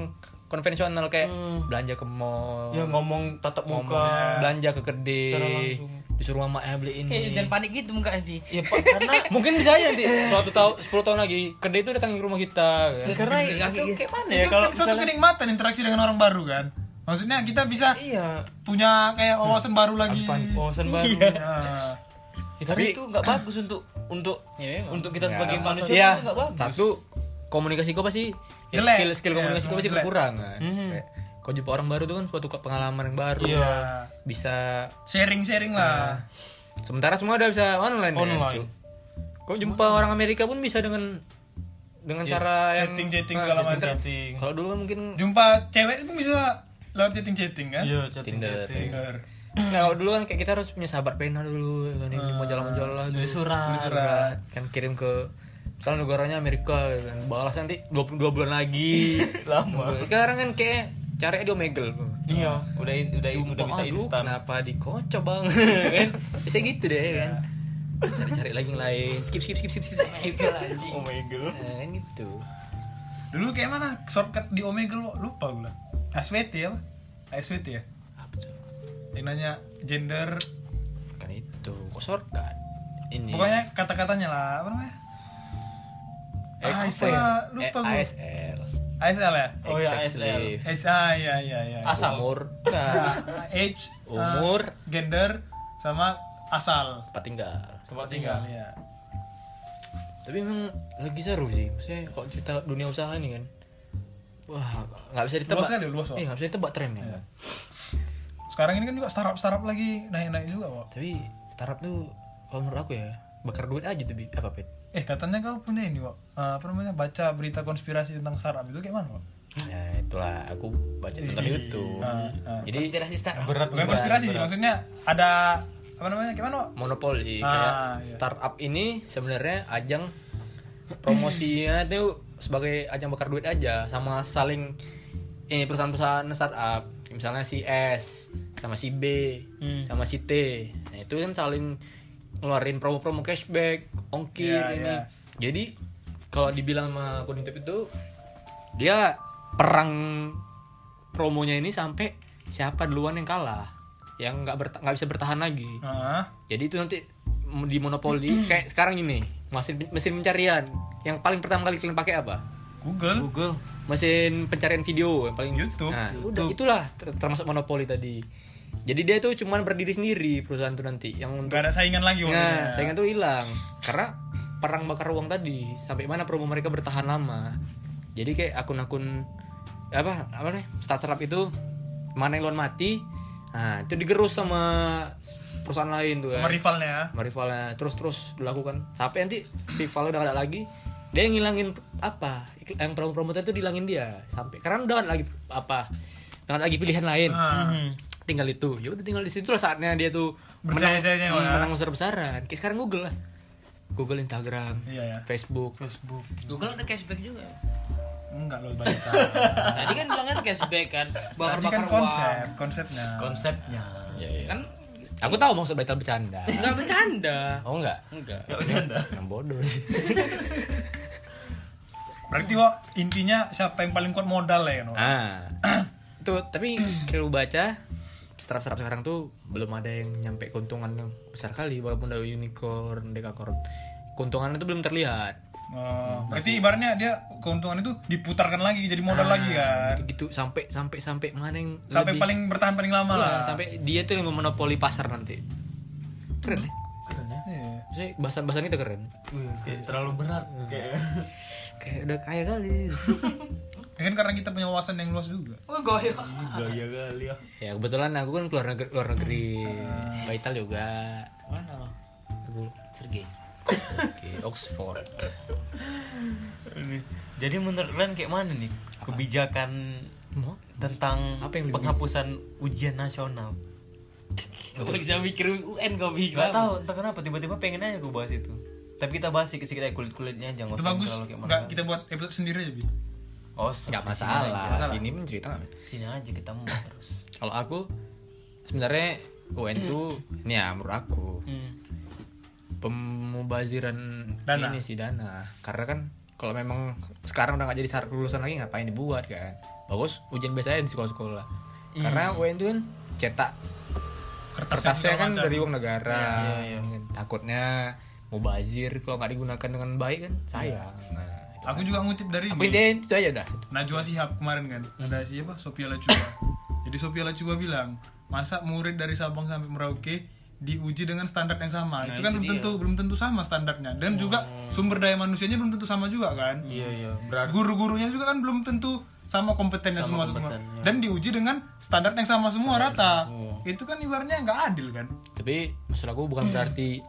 Speaker 5: konvensional kayak belanja ke mall
Speaker 8: Ya ngomong tatap
Speaker 5: ngomong- Iya.
Speaker 8: muka.
Speaker 5: belanja ke kedai
Speaker 8: Secara langsung.
Speaker 5: disuruh mama eh beli ini
Speaker 9: Eh, jangan panik gitu muka nanti.
Speaker 8: Ya Pak, karena
Speaker 5: mungkin bisa aja nanti suatu tahun 10 tahun lagi kedai itu datang ke rumah kita kan.
Speaker 8: karena itu kayak mana ya
Speaker 7: itu
Speaker 8: kalau
Speaker 7: kan suatu
Speaker 8: misalnya
Speaker 7: kenikmatan interaksi dengan orang baru kan maksudnya kita bisa
Speaker 8: iya
Speaker 7: punya
Speaker 5: Hmm.
Speaker 7: kayak wawasan baru lagi
Speaker 8: wawasan baru.
Speaker 7: Nah,
Speaker 8: Ya, tapi itu nggak bagus untuk untuk untuk kita sebagai manusia
Speaker 5: Iya,
Speaker 8: itu nggak bagus.
Speaker 5: satu komunikasi kau pasti ya,
Speaker 7: Jelek.
Speaker 5: skill skill
Speaker 7: Iya,
Speaker 5: komunikasi kau pasti
Speaker 7: jelek.
Speaker 5: berkurang kan kayak, kau jumpa orang baru itu kan suatu pengalaman yang baru
Speaker 8: Iya.
Speaker 5: bisa
Speaker 7: sharing-sharing
Speaker 5: Nah.
Speaker 7: lah
Speaker 5: Sementara semua udah bisa online. ya,
Speaker 8: Online.
Speaker 5: cu. Kau jumpa orang Amerika pun bisa dengan dengan
Speaker 8: Iya,
Speaker 5: cara yang
Speaker 7: chatting-chatting
Speaker 5: Nah,
Speaker 7: segala
Speaker 5: sebentar.
Speaker 7: macam.
Speaker 8: Chatting.
Speaker 5: Kalau dulu kan mungkin
Speaker 7: jumpa cewek itu bisa lewat chatting-chatting kan
Speaker 8: Iya, chatting
Speaker 5: Tinder.
Speaker 8: chatting.
Speaker 7: Bener.
Speaker 5: nah, kalau dulu kan kayak kita harus punya sahabat pena dulu kan ini mau jalan-jalan lah dulu.
Speaker 8: Nulis surat.
Speaker 5: Nulis surat. kan kirim ke misalnya negaranya Amerika gitu kan balas nanti 22 bulan lagi lama sekarang kan kayak caranya dia megel
Speaker 8: Iya, udah in- udah in- udah bisa
Speaker 5: Aduh,
Speaker 8: instan.
Speaker 5: kenapa dikocok bang kan bisa gitu deh kan cari-cari lagi yang lain skip skip skip skip skip skip lagi
Speaker 8: Oh my god.
Speaker 5: Nah, kan gitu.
Speaker 7: dulu kayak mana shortcut di Omegle Wak? lupa gue SWT ya apa? SWT ya
Speaker 5: Apa tuh?
Speaker 7: yang nanya gender
Speaker 5: Bukan Kan itu, kok shortcut? Ini.
Speaker 7: pokoknya kata-katanya lah apa namanya Ah,
Speaker 5: Iya. Eh, apa
Speaker 7: istilah,
Speaker 5: ya?
Speaker 7: lupa
Speaker 5: Eh,
Speaker 7: gua.
Speaker 5: ASL.
Speaker 7: ASL ya
Speaker 8: Oh ya,
Speaker 5: Sex
Speaker 8: ASL.
Speaker 5: life.
Speaker 7: HI ya ya ya
Speaker 8: Asal.
Speaker 5: Umur. Nah,
Speaker 7: age uh,
Speaker 5: Umur.
Speaker 7: gender sama asal
Speaker 5: tempat tinggal. iya.
Speaker 8: Tempat tinggal.
Speaker 7: tinggal ya
Speaker 5: Tapi emang lagi seru sih. Maksudnya kalau cerita dunia usaha ini kan. Wah, nggak bisa ditebak.
Speaker 7: Luas sekali, luas, Wak.
Speaker 5: Eh, nggak bisa ditebak trennya.
Speaker 8: Iya.
Speaker 7: sekarang ini kan juga startup startup lagi naik naik juga Wak.
Speaker 5: Tapi startup tuh kalau menurut aku ya, bakar duit aja tuh Bi. apa pet?
Speaker 7: eh katanya kau punya ini Wak. Eh, apa namanya baca berita konspirasi tentang startup itu kayak mana Wak?
Speaker 5: Ya itulah aku baca tentang
Speaker 7: Ih,
Speaker 5: YouTube.
Speaker 7: ah, ah.
Speaker 5: Jadi
Speaker 9: Inspirasi start.
Speaker 8: Nah, Berat
Speaker 7: bukan
Speaker 8: berat.
Speaker 7: konspirasi sih maksudnya ada apa namanya kayak mana Wak?
Speaker 5: monopoli
Speaker 7: Ah,
Speaker 5: kayak
Speaker 7: iya.
Speaker 5: startup ini sebenarnya ajang promosinya itu sebagai ajang bakar duit aja sama saling ini perusahaan-perusahaan startup misalnya si S sama si B
Speaker 7: Hmm.
Speaker 5: sama si T nah itu kan saling ngeluarin promo-promo cashback ongkir
Speaker 7: Iya,
Speaker 5: ini
Speaker 7: iya.
Speaker 5: jadi kalau dibilang sama akun YouTube itu dia perang promonya ini sampai siapa duluan yang kalah
Speaker 8: yang nggak berta- nggak bisa bertahan lagi
Speaker 7: Heeh.
Speaker 8: jadi itu nanti m- di monopoli kayak sekarang ini mesin mesin pencarian yang paling pertama kali kalian pakai apa
Speaker 7: Google.
Speaker 5: Google
Speaker 8: mesin pencarian video yang paling
Speaker 7: YouTube.
Speaker 8: Nah, udah itulah ter- termasuk monopoli tadi jadi dia tuh cuman berdiri sendiri perusahaan itu nanti yang untuk
Speaker 7: Gak ada ya. saingan lagi
Speaker 8: nah
Speaker 7: waktunya.
Speaker 8: saingan tuh hilang karena perang bakar uang tadi sampai mana promo mereka bertahan lama jadi kayak akun-akun apa apa nih startup itu mana yang luan mati nah itu digerus sama perusahaan lain tuh kan
Speaker 7: Sama rivalnya.
Speaker 8: sama rivalnya terus terus dilakukan sampai nanti rivalnya udah gak ada lagi dia yang ngilangin apa ikl- yang promo-promo tadi itu dihilangin dia sampai karena udah gak ada lagi apa gak ada lagi pilihan lain
Speaker 7: Ah.
Speaker 8: Mhm. tinggal itu ya udah tinggal di situ lah saatnya dia tuh menang hmm,
Speaker 7: Berjaya-jayanya, Pak, ya.
Speaker 8: menang besar-besaran kayak sekarang Google lah Google Instagram
Speaker 7: Iya ya.
Speaker 8: Facebook
Speaker 7: Facebook.
Speaker 6: Google ada cashback juga.
Speaker 7: Enggak lo banyak.
Speaker 6: Tadi kan bilangnya cashback kan, bakar
Speaker 7: Tadi kan
Speaker 6: bakar
Speaker 7: konsep,
Speaker 6: uang.
Speaker 7: konsepnya.
Speaker 5: konsepnya
Speaker 6: Kan
Speaker 8: Iya, aku tahu maksud Baital bercanda
Speaker 6: nggak bercanda.
Speaker 8: oh enggak
Speaker 6: Enggak.
Speaker 8: yang bodoh sih
Speaker 7: Berarti kok intinya siapa yang paling kuat modal lah ya, no?
Speaker 8: Ah. tuh, tapi kalau lu baca startup-startup sekarang tuh belum ada yang nyampe keuntungan yang besar kali walaupun ada unicorn, dekakorn. Keuntungannya tuh belum terlihat.
Speaker 7: Oh, berarti ibaratnya dia keuntungan itu diputarkan lagi jadi modal lagi kan.
Speaker 8: Gitu, sampai sampai sampai mana yang
Speaker 7: Sampai
Speaker 8: lebih-
Speaker 7: paling bertahan paling lama
Speaker 8: Iya,
Speaker 7: lah.
Speaker 8: sampai dia tuh yang memonopoli pasar nanti. Keren ya?
Speaker 7: Iya.
Speaker 8: Maksudnya bahasan-bahasan kita keren. Iya.
Speaker 5: terlalu berat kayak
Speaker 8: Kayak udah kaya kali.
Speaker 7: Ya kan karena kita punya wawasan yang luas juga.
Speaker 6: Oh goyok.
Speaker 5: gaya kali ya
Speaker 8: ya kebetulan aku kan keluar negeri, luar negeri.
Speaker 5: Hmm.
Speaker 8: Baital juga.
Speaker 6: Mana lo?
Speaker 8: Aku
Speaker 6: Sergei.
Speaker 8: oke, Oxford.
Speaker 5: Ini. jadi menurut kalian kayak mana nih kebijakan
Speaker 8: Mau?
Speaker 5: tentang
Speaker 8: Apa yang
Speaker 5: penghapusan ujian nasional
Speaker 6: Gak bisa mikir UN kau bingung.
Speaker 5: Gak tahu entah kenapa tiba-tiba pengen aja gue bahas itu tapi kita bahas sedikit-sedikit aja kulit-kulitnya aja
Speaker 7: Itu
Speaker 5: nggak usah yang
Speaker 7: bagus.
Speaker 5: terlalu kayak
Speaker 7: Enggak
Speaker 5: mana
Speaker 7: kita buat episode sendiri aja, Bi.
Speaker 5: oh se-
Speaker 8: nggak
Speaker 5: sini aja.
Speaker 8: masalah sini pun cerita nggak
Speaker 5: sini aja kita mau terus
Speaker 8: kalau aku sebenarnya UN tuh ini ya menurut aku pemubaziran
Speaker 7: Dana.
Speaker 8: ini sih dana karena kan kalau memang sekarang udah nggak jadi syarat lulusan lagi ngapain dibuat kan bagus ujian biasanya di sekolah-sekolah karena UN tuh kan cetak kertasnya
Speaker 7: segala
Speaker 8: kan
Speaker 7: macam.
Speaker 8: dari uang negara Kan. takutnya mubazir kalau nggak digunakan dengan baik kan sayang nah, itu
Speaker 7: Aku
Speaker 8: kan.
Speaker 7: juga ngutip dari
Speaker 8: aku
Speaker 7: ini.
Speaker 8: intinya itu aja dah
Speaker 7: Najwa Shihab kemarin kan ada siapa Sophia Lachuba jadi Sophia Lachuba bilang masa murid dari Sabang sampai Merauke diuji dengan standar yang sama itu Oh. kan belum tentu belum tentu sama standarnya dan juga sumber daya manusianya belum tentu sama juga kan
Speaker 5: iya iya berarti
Speaker 7: guru-gurunya juga kan belum tentu sama kompetennya semua semua dan diuji dengan standar yang sama semua rata itu kan ibaratnya nggak adil kan
Speaker 8: tapi maksud aku bukan berarti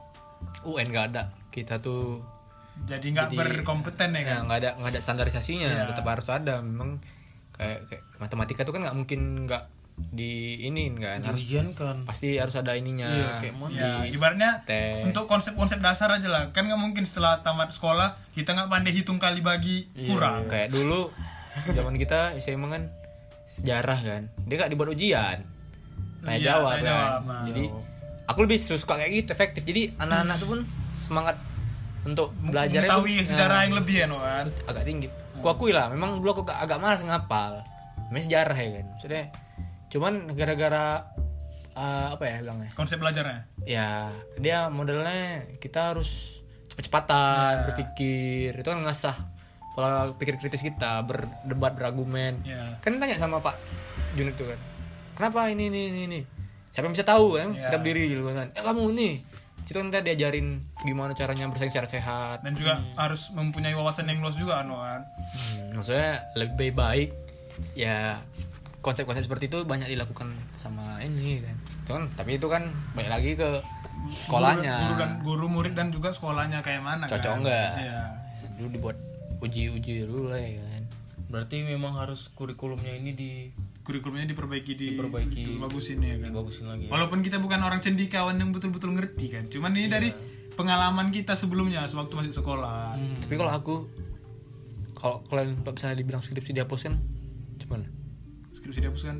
Speaker 8: UN nggak ada kita tuh
Speaker 7: jadi nggak berkompeten ya
Speaker 8: ya
Speaker 7: kan
Speaker 8: nggak ada nggak ada standarisasinya
Speaker 7: Iya.
Speaker 8: tetap harus ada memang kayak, kayak matematika tuh kan nggak mungkin nggak di ini kan harus
Speaker 5: ujian kan
Speaker 8: pasti harus ada ininya Iya.
Speaker 5: kayak mau
Speaker 7: Ya, ibaratnya
Speaker 8: tes.
Speaker 7: untuk konsep-konsep dasar aja lah. Kan nggak mungkin setelah tamat sekolah kita nggak pandai hitung kali bagi
Speaker 5: Iya,
Speaker 7: kurang.
Speaker 8: kayak dulu zaman kita SMA kan sejarah kan dia nggak dibuat ujian tanya
Speaker 7: Iya,
Speaker 8: jawab
Speaker 7: tanya
Speaker 8: kan
Speaker 7: jawab, nah.
Speaker 8: jadi aku lebih suka kayak gitu efektif jadi anak-anak tuh pun semangat untuk nah, belajar
Speaker 7: mengetahui
Speaker 5: Ah.
Speaker 7: sejarah yang lebih ya no kan
Speaker 8: agak tinggi. Ku akui lah, memang dulu aku agak, agak malas ngapal. Memang sejarah ya kan. Maksudnya cuman gara-gara eh, apa ya bilangnya?
Speaker 7: konsep belajarnya
Speaker 8: Ya, dia modelnya kita harus
Speaker 7: Iya.
Speaker 8: cepat-cepatan berpikir. Itu kan ngasah pola pikir kritis kita, berdebat, berargumen.
Speaker 7: Iya.
Speaker 8: Kan tanya sama Pak Junit tuh kan. Kenapa ini ini ini ini? Siapa yang bisa tahu kan?
Speaker 7: Iya.
Speaker 8: Kita berdiri gitu kan. Eh kamu nih. Situ kan kita diajarin gimana caranya bersaing secara sehat.
Speaker 7: dan juga
Speaker 5: Iya.
Speaker 7: harus mempunyai wawasan yang luas juga no kan
Speaker 8: Hmm, maksudnya lebih baik ya konsep-konsep seperti itu banyak dilakukan sama ini kan. Itu kan tapi itu kan baik lagi ke sekolahnya.
Speaker 7: guru, guru
Speaker 5: Ah.
Speaker 7: dan guru murid dan juga sekolahnya kayak mana
Speaker 8: Cocok
Speaker 7: kan?
Speaker 8: nggak?
Speaker 7: Iya.
Speaker 8: Dulu dibuat uji-uji dulu lah ya kan.
Speaker 5: berarti memang harus kurikulumnya ini di
Speaker 7: kurikulumnya diperbaiki di
Speaker 5: Diperbaiki.
Speaker 7: dibagusin ya kan
Speaker 5: dibagusin lagi ya.
Speaker 7: walaupun kita bukan orang cendikawan yang betul-betul ngerti kan cuman
Speaker 5: Iya.
Speaker 7: ini dari pengalaman kita sebelumnya sewaktu masih sekolah
Speaker 8: Hmm, Tapi kalau aku kalau kalian kalau misalnya dibilang skripsi dihapus kan cuman
Speaker 7: skripsi dihapus kan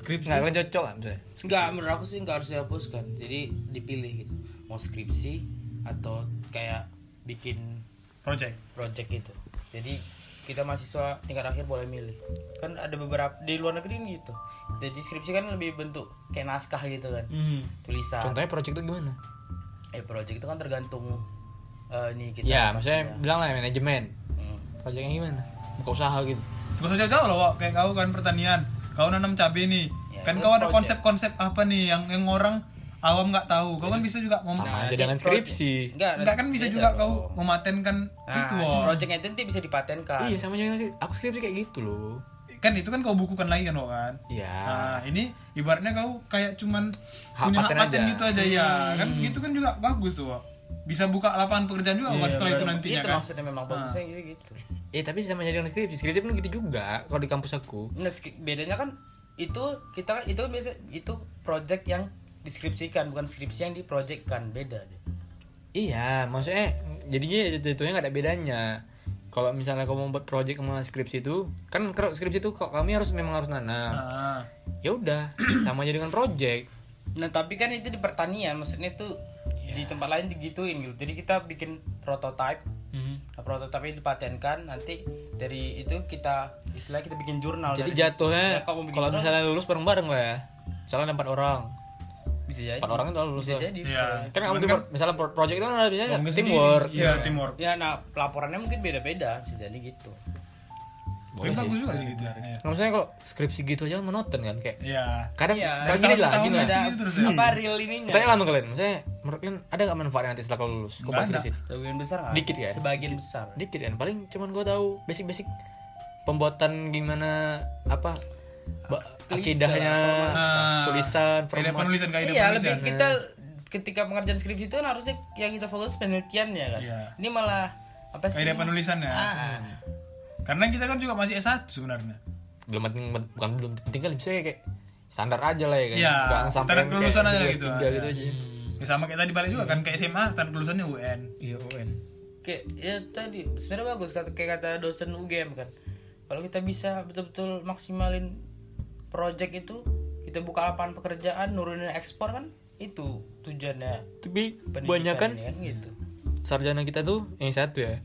Speaker 8: nggak kalian cocok lah misalnya.
Speaker 6: Enggak, menurut aku sih enggak harus dihapuskan. Jadi dipilih gitu. Mau skripsi atau kayak bikin
Speaker 7: project
Speaker 6: project gitu. Jadi kita mahasiswa tingkat akhir boleh milih kan ada beberapa di luar negeri ini gitu jadi skripsi kan lebih bentuk kayak naskah gitu kan
Speaker 5: Hmm.
Speaker 6: tulisan
Speaker 8: Contohnya project itu gimana?
Speaker 6: eh project itu kan tergantung eh nih kita
Speaker 8: Ya,
Speaker 6: apa
Speaker 8: misalnya
Speaker 6: maksudnya.
Speaker 8: bilang lah manajemen.
Speaker 6: Hmm.
Speaker 8: Projectnya gimana? Buka usaha gitu.
Speaker 7: Gak usah jauh-jauh loh, Wak. kayak kau kan pertanian, kau nanam cabai nih,
Speaker 6: Ya,
Speaker 7: kan
Speaker 6: itu
Speaker 7: kau ada
Speaker 6: project.
Speaker 7: konsep-konsep apa nih yang yang orang awam nggak tahu, kau kan bisa juga mem-
Speaker 8: Sama aja
Speaker 6: nanti
Speaker 8: dengan
Speaker 6: project.
Speaker 8: skripsi.
Speaker 6: Enggak,
Speaker 7: nggak kan
Speaker 6: nanti
Speaker 7: bisa
Speaker 6: Ya, beda
Speaker 7: juga
Speaker 6: dong.
Speaker 7: kau mematenkan
Speaker 6: nah,
Speaker 7: itu, Wak.
Speaker 6: projectnya itu nanti bisa dipatenkan
Speaker 8: Iya, sama aja. Aku skripsi kayak gitu loh.
Speaker 7: kan itu kan kau bukukan lagi kan, Wak, kan?
Speaker 8: Iya.
Speaker 7: Nah, ini ibaratnya kau kayak cuman
Speaker 8: Hak
Speaker 7: punya hak
Speaker 8: paten
Speaker 7: paten
Speaker 8: aja.
Speaker 7: gitu aja ya.
Speaker 6: Hmm.
Speaker 7: Kan gitu kan juga bagus tuh, Wak. Bisa buka lapangan pekerjaan juga kan setelah itu nantinya
Speaker 6: itu
Speaker 7: kan.
Speaker 6: Iya, maksudnya memang bagusnya gitu gitu
Speaker 8: Eh, tapi sama aja dengan skripsi. Skripsi pun gitu juga kalau di kampus aku.
Speaker 6: nah sk- bedanya kan itu kita kan itu biasa itu project yang deskripsikan bukan skripsi yang diprojekkan beda deh
Speaker 8: Iya, maksudnya jadinya jatuhnya nggak ada bedanya. Kalau misalnya kamu mau buat project sama skripsi itu, kan kalau skripsi itu kok kami harus memang harus nanam.
Speaker 7: Nah,
Speaker 8: Ya udah, sama aja dengan project.
Speaker 6: nah tapi kan itu di pertanian maksudnya itu di
Speaker 8: Iya.
Speaker 6: tempat lain digituin gitu jadi kita bikin prototype
Speaker 8: Hmm.
Speaker 6: nah, prototype itu dipatenkan nanti dari itu kita istilah kita bikin jurnal Dari-
Speaker 8: Jadi
Speaker 6: Ya,
Speaker 8: jatuhnya
Speaker 6: kalau bikin
Speaker 8: kalau
Speaker 6: jurnal,
Speaker 8: misalnya lulus bareng-bareng lah ya. Misalnya ada empat orang,
Speaker 6: bisa jadi
Speaker 8: empat orang itu lulus
Speaker 6: bisa
Speaker 8: lah.
Speaker 6: jadi
Speaker 7: Iya.
Speaker 8: Kan kamu bikin pro- misalnya pro- project itu kan ada biasanya
Speaker 7: Mungkin
Speaker 8: teamwork.
Speaker 7: sendiri. Iya, teamwork.
Speaker 6: ya nah laporannya mungkin beda-beda bisa jadi gitu
Speaker 7: Kan bagus juga sih gitu. Iya.
Speaker 8: Nah, maksudnya kalau skripsi gitu aja kan monoton kan kayak
Speaker 7: Iya.
Speaker 8: kadang
Speaker 6: Iya,
Speaker 8: kayak gini lah,
Speaker 7: tahun-tahun
Speaker 8: gini lah.
Speaker 7: aja.
Speaker 6: ada
Speaker 7: Gitu terus ya.
Speaker 6: apa real ininya
Speaker 8: Tanya lah sama kalian, misalnya menurut kalian ada gak manfaatnya nanti setelah kau lulus? Kau
Speaker 7: Nggak
Speaker 8: pas
Speaker 7: ada.
Speaker 8: skripsi?
Speaker 6: sebagian besar nggak?
Speaker 8: Dikit ya?
Speaker 6: sebagian besar
Speaker 8: dikit kan paling cuman gue tahu basic-basic pembuatan gimana apa ba- akidahnya Ah,
Speaker 7: format.
Speaker 8: tulisan
Speaker 7: Kayak
Speaker 8: format
Speaker 7: penulisan kayak
Speaker 6: iya lebih kita ketika pengerjaan skripsi itu kan harusnya yang kita fokus penelitiannya kan
Speaker 7: Iya.
Speaker 6: ini malah apa sih
Speaker 7: Kayak penulisannya.
Speaker 6: ah,
Speaker 7: Karena kita kan juga masih S1 sebenarnya.
Speaker 8: belum penting bukan belum penting kali misalnya kayak standar aja lah ya kan
Speaker 7: Iya,
Speaker 8: Nggak sampai
Speaker 7: standar
Speaker 8: yang
Speaker 7: kelulusan aja
Speaker 8: kayak
Speaker 7: gitu.
Speaker 8: gitu, gitu,
Speaker 7: Iya.
Speaker 8: aja
Speaker 7: Ya sama kayak tadi balik juga kan kayak SMA standar lulusannya UN.
Speaker 8: iya UN
Speaker 6: kayak ya tadi sebenarnya bagus kata kayak kata dosen UGM kan kalau kita bisa betul-betul maksimalin project itu kita buka lapangan pekerjaan nurunin ekspor kan itu tujuannya
Speaker 8: tapi
Speaker 6: pendidikan
Speaker 8: kebanyakan
Speaker 6: ini kan gitu
Speaker 8: sarjana kita tuh yang satu ya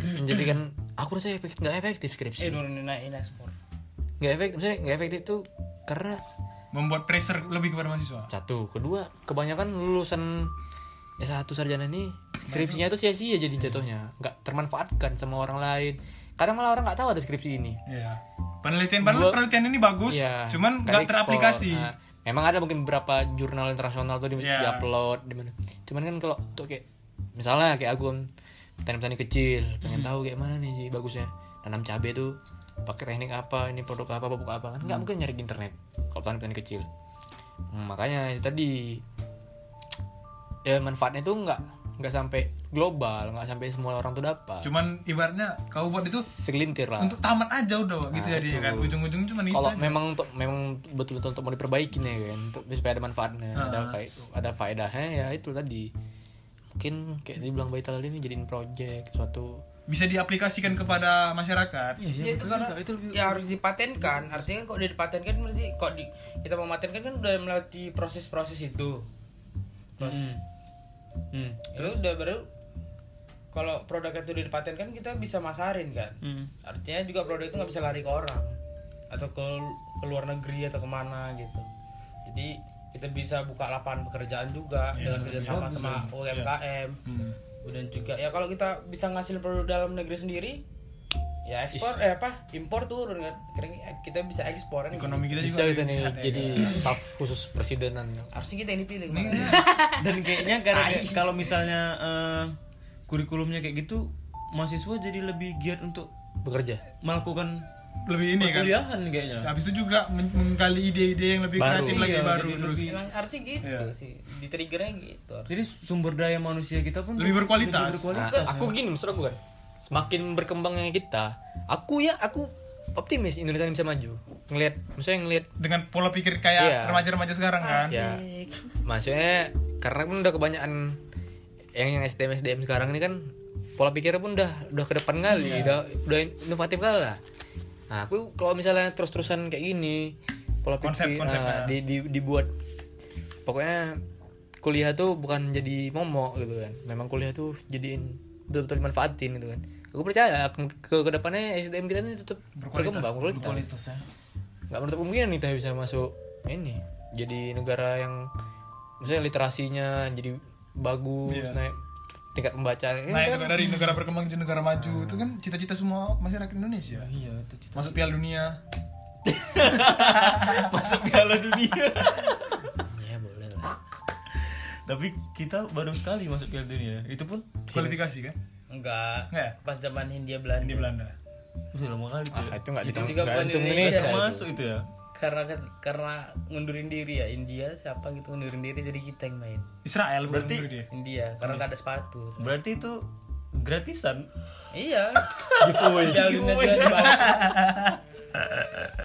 Speaker 8: menjadikan aku rasa efek, nggak efektif
Speaker 6: eh
Speaker 8: skripsi
Speaker 6: nurunin naikin ekspor
Speaker 8: nggak efektif misalnya nggak efektif tuh karena
Speaker 7: Membuat pressure lebih kepada mahasiswa.
Speaker 8: Satu, kedua, kebanyakan lulusan S1 sarjana ini skripsinya itu sia-sia jadi jatuhnya, nggak termanfaatkan sama orang lain. Kadang malah orang nggak tahu ada skripsi ini.
Speaker 7: Iya. Penelitian padahal
Speaker 8: Gua-
Speaker 7: penelitian ini bagus,
Speaker 8: Iya,
Speaker 7: cuman
Speaker 8: nggak
Speaker 7: nggak teraplikasi.
Speaker 8: diekspor. Nah, memang ada mungkin beberapa jurnal internasional tuh di,
Speaker 7: Iya.
Speaker 8: upload di mana. Cuman kan kalau untuk kayak misalnya kayak aku petani-petani kecil,
Speaker 7: Mm-hmm.
Speaker 8: pengen tahu kayak mana nih sih bagusnya tanam cabai tuh pakai teknik apa, ini produk apa, pupuk apa kan
Speaker 7: Mm-hmm.
Speaker 8: nggak mungkin nyari di internet kalau petani-petani kecil. Hmm, makanya itu tadi ya manfaatnya tuh nggak nggak sampai global, nggak sampai semua orang tuh dapat.
Speaker 7: Cuman ibaratnya kau buat itu
Speaker 8: segelintir lah.
Speaker 7: untuk tamat aja udah Wak, gitu
Speaker 8: Nah,
Speaker 7: jadi ya
Speaker 8: itu.
Speaker 7: kan ujung-ujung cuman itu
Speaker 8: kalau
Speaker 7: aja.
Speaker 8: memang untuk memang betul-betul untuk mau diperbaiki nih kan untuk supaya ada manfaatnya
Speaker 5: Ah.
Speaker 8: ada fai- ada faedahnya ya itu tadi mungkin kayak dibilang Baita tadi ini jadiin project suatu
Speaker 7: bisa diaplikasikan kepada masyarakat.
Speaker 8: Iya,
Speaker 6: Ya, itu karena ya harus dipatenkan. Artinya kan kalau udah dipatenkan berarti kalau di, kita mematenkan kan udah melewati proses-proses itu.
Speaker 5: Hmm.
Speaker 7: Iya.
Speaker 6: Terus udah baru kalau produk itu udah dipatenkan kan kita bisa masarin kan.
Speaker 7: Hmm.
Speaker 6: Artinya juga produk itu nggak bisa lari ke orang atau ke, ke luar negeri atau kemana gitu. Jadi kita bisa buka lapangan pekerjaan juga
Speaker 7: Iya,
Speaker 6: dengan kerjasama sama UMKM.
Speaker 7: Hmm.
Speaker 6: Kemudian juga ya kalau kita bisa ngasilin produk dalam negeri sendiri ya ekspor eh apa impor turun kan Kira-kira kita bisa ekspor kan
Speaker 7: Ekonomi kita juga
Speaker 8: bisa gitu nih
Speaker 7: sehat ya,
Speaker 8: jadi
Speaker 7: kan?
Speaker 8: staff khusus presidenan
Speaker 6: harusnya kita yang dipilih
Speaker 7: Ini
Speaker 6: Bang.
Speaker 5: dan kayaknya gara kalau misalnya eh, kurikulumnya kayak gitu mahasiswa jadi lebih giat untuk
Speaker 8: bekerja
Speaker 5: melakukan
Speaker 7: lebih ini kan.
Speaker 5: perkuliahan kayaknya
Speaker 7: Habis itu juga men- menggali ide-ide yang lebih
Speaker 8: Baru.
Speaker 7: kreatif lagi
Speaker 5: Iya,
Speaker 7: baru
Speaker 5: jadi
Speaker 7: terus.
Speaker 5: lebih-
Speaker 6: Emang harusnya gitu
Speaker 7: Iya.
Speaker 6: sih di triggernya gitu harusnya.
Speaker 5: jadi sumber daya manusia kita pun
Speaker 7: Lebih berkualitas.
Speaker 8: Nah, aku gini maksud aku kan semakin berkembangnya kita aku ya aku optimis Indonesia ini bisa maju ngelihat misalnya ngelihat
Speaker 7: Dengan pola pikir
Speaker 8: Iya.
Speaker 7: kayak remaja-remaja sekarang kan.
Speaker 5: Iya.
Speaker 8: ya maksudnya karena kan udah kebanyakan yang yang SDM SDM sekarang ini kan pola pikirnya pun udah udah ke depan kali
Speaker 7: Iya.
Speaker 8: udah udah inovatif kali lah nah aku kalau misalnya terus terusan kayak gini pola
Speaker 7: Konsep- ya.
Speaker 8: pikir
Speaker 7: konsepnya.
Speaker 8: ah, di- di- dibuat pokoknya kuliah tuh bukan jadi momok gitu kan memang kuliah tuh jadiin betul-betul dimanfaatin gitu kan gue percaya ke, ke kedepannya SDM kita ini tetap
Speaker 7: Berkualitas, ya.
Speaker 8: berkembang berkualitas
Speaker 5: kualitasnya
Speaker 8: nggak menutup kemungkinan kita bisa masuk ini jadi negara yang misalnya literasinya jadi bagus
Speaker 7: Iya.
Speaker 8: naik tingkat pembacaan Ini
Speaker 7: Naik
Speaker 8: kan
Speaker 5: Iya.
Speaker 7: negara- dari negara berkembang jadi negara maju itu kan cita-cita semua masyarakat Indonesia.
Speaker 5: iya itu cita
Speaker 7: Masuk Piala Dunia.
Speaker 5: masuk piala dunia
Speaker 8: ya boleh lah
Speaker 5: tapi kita baru sekali masuk piala dunia itu pun
Speaker 7: Kualifikasi kan?
Speaker 6: Enggak.
Speaker 7: Enggak ya?
Speaker 6: Pas zaman Hindia Belanda.
Speaker 7: Di Belanda.
Speaker 5: udah lama kali tuh
Speaker 8: Ah,
Speaker 5: ya.
Speaker 8: itu nggak
Speaker 6: Itu
Speaker 8: dihitung
Speaker 6: juga
Speaker 8: nggak
Speaker 6: bukan
Speaker 8: dihitung
Speaker 6: Indonesia
Speaker 8: Indonesia
Speaker 5: Bisa
Speaker 8: itu.
Speaker 5: masuk itu ya
Speaker 6: Karena karena ngundurin diri ya India siapa gitu ngundurin diri jadi kita yang main.
Speaker 7: Israel bukan
Speaker 5: Berarti-
Speaker 7: menurut dia.
Speaker 6: India karena nggak ada sepatu.
Speaker 5: berarti itu gratisan
Speaker 6: Iya. Giveaway. Piala Dunia juga dibawa.